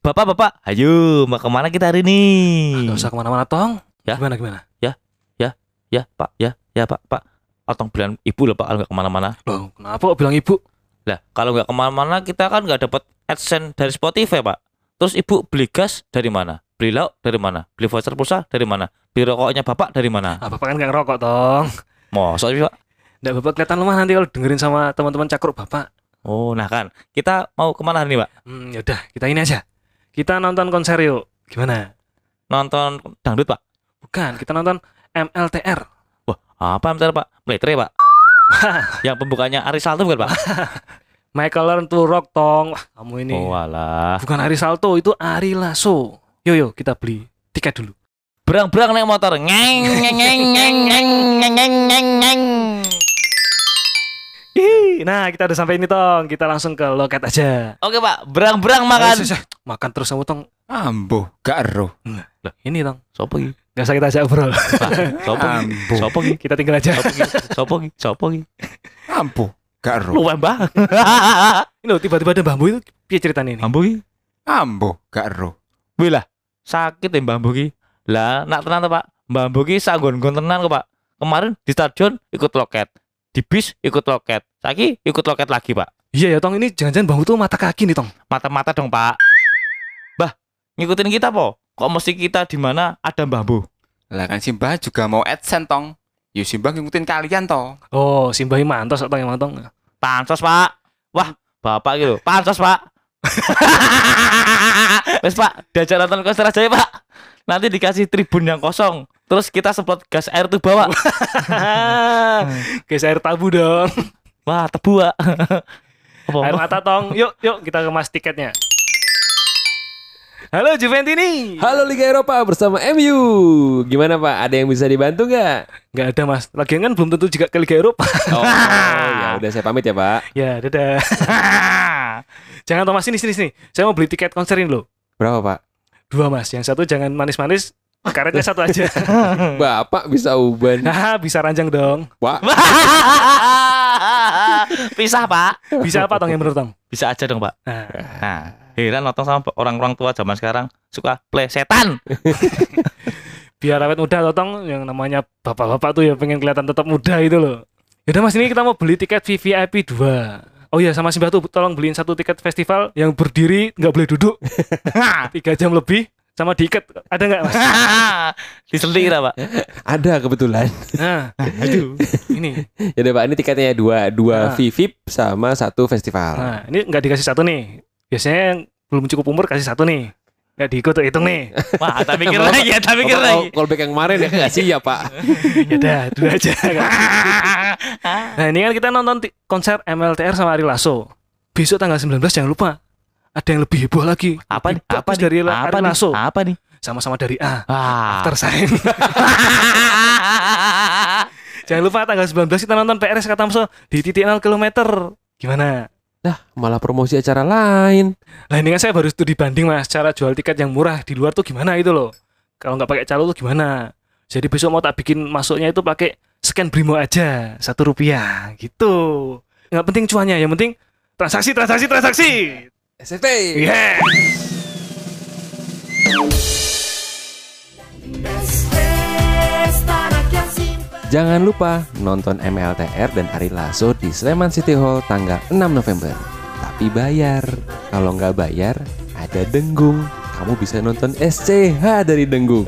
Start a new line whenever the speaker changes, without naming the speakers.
Bapak, bapak, ayo, mau kemana kita hari ini?
Gak usah kemana-mana, Tong.
Ya?
Gimana, gimana?
Ya, Pak, ya, ya, Pak, Pak. Otong bilang ibu loh, Pak, kalau nggak kemana-mana.
Loh, kenapa kok bilang ibu?
Lah, kalau nggak kemana-mana, kita kan nggak dapat AdSense dari Spotify, Pak. Terus ibu beli gas dari mana? Beli lauk dari mana? Beli voucher pulsa dari mana? Beli rokoknya bapak dari mana?
Ah, bapak kan gak ngerokok, Tong.
Mosok sih, Pak.
Nggak, bapak kelihatan lemah nanti kalau dengerin sama teman-teman cakruk bapak.
Oh, nah kan. Kita mau kemana hari ini, Pak?
Hmm, yaudah, kita ini aja. Kita nonton konser yuk. Gimana?
Nonton dangdut, Pak?
Bukan, kita nonton MLTR.
Wah, apa bentar, Ah, Pak? Meletre, Pak. Yang pembukanya Ari Salto bukan, Pak?
Michael Learn to Rock, Tong. Wah, kamu ini.
Oh, alah.
Bukan Ari Salto, itu Ari Lasso. Yo yo, kita beli tiket dulu.
Berang-berang naik motor. Ngeng, ngeng, ngeng, ngeng, ngeng, ngeng, ngeng, ngeng, ngeng.
Ih, nah kita udah sampai ini Tong, kita langsung ke loket aja.
Oke, Pak. Berang-berang makan.
Ayo, sus, sus. makan terus kamu Tong.
Ambo, gak ero.
Ini Tong,
Sopo iki?
nggak usah kita ajak bro.
Lah, Sopo iki?
Ambo.
Sopo iki?
kita tinggal aja.
Sopo iki? Sopo iki? Sopo iki?
Ambo, gak ero.
Luwe, Mbak.
Ini loh, tiba-tiba ada bambu itu, piye ceritanya ini?
Ambo iki.
Ambo, gak ero.
Wih lah, sakit ya Mbak Ambo iki. Lah, nak tenan to, Pak. Mbak Ambo iki sak nggon-nggon tenan kok, Pak. Kemarin di stadion ikut loket. Di bis ikut loket. Saiki ikut loket lagi, Pak.
Iya ya Tong, ini jangan-jangan bambu tuh mata kaki nih Tong.
mata-mata dong pak Bah ngikutin kita po kok mesti kita di mana ada Mbah Bu
Lah kan Simbah juga mau adsense tong. Yo Simbah ngikutin kalian toh.
Oh, Simbahi mantos Tong emang Tong.
pansos pak wah bapak gitu pansos pak wes pak diajak nonton konser aja ya pak nanti dikasih tribun yang kosong terus kita semprot gas air tuh bawa
Guys, air tabu dong.
wah tebu pak Apa?
Air mata Tong. Yuk, yuk kita kemas tiketnya. Halo Juventini.
Halo Liga Eropa bersama MU. Gimana Pak? Ada yang bisa dibantu nggak?
Nggak ada Mas. Lagian kan belum tentu juga ke Liga Eropa.
Oh, ya udah saya pamit ya Pak.
ya, dadah. Jangan Thomas sini sini sini. Saya mau beli tiket konser ini loh.
Berapa Pak?
Dua Mas. Yang satu jangan manis-manis, karetnya satu aja.
Hmm.
Bapak bisa uban.
Nah, bisa ranjang dong.
Pak,
pisah pak
Bisa apa Tong yang menurut Tong?
bisa aja dong pak
Nah,
nah heran nonton sama orang-orang tua zaman sekarang suka play setan
biar awet muda toh, Tong yang namanya bapak-bapak tuh ya pengen kelihatan tetap muda itu loh. Yaudah Mas, ini kita mau beli tiket VVIP 2. Oh iya, sama Simbah tuh tolong beliin satu tiket festival yang berdiri nggak boleh duduk Nah, tiga jam lebih sama diikat ada nggak mas?
diselir pak
ada kebetulan.
Nah, aduh, ini,
Ya udah Pak, ini tiketnya
Ah.
dua, dua VVIP sama satu
Ah.
festival.
nah ini nggak dikasih satu nih. Biasanya yang belum cukup umur kasih satu nih. Nggak diikut tuh hitung nih.
wah tak pikir lagi ya tak pikir lagi
Kalau callback yang kemarin ya nggak sih ya Pak.
Ya udah, dua aja. Nah ini kan kita nonton ti- konser MLTR sama Ari Lasso. Besok tanggal 19 jangan lupa. Ada yang lebih heboh lagi.
apa nih
Lebih
apa
bagus
nih
dari
apa
Ari
nih
Lasso.
apa nih
Sama-sama dari A.
ah
Tersaing. jangan lupa tanggal 19 kita nonton PRS Katamso di titik 0 kilometer. Gimana?
Malah promosi acara lain.
Nah ini kan saya baru studi banding mas Cara jual tiket yang murah di luar tuh gimana itu loh Kalau nggak pakai calo tuh gimana Jadi besok mau tak bikin masuknya itu pakai scan Brimo aja Satu rupiah gitu Nggak penting cuannya Yang penting transaksi transaksi transaksi
Iya.
Iya.
SFP.
Yeah
Jangan lupa nonton MLTR dan Ari Lasso di Sleman City Hall tanggal 6 November. Tapi bayar. Kalau nggak bayar, ada Denggung. Kamu bisa nonton SCH dari Denggung.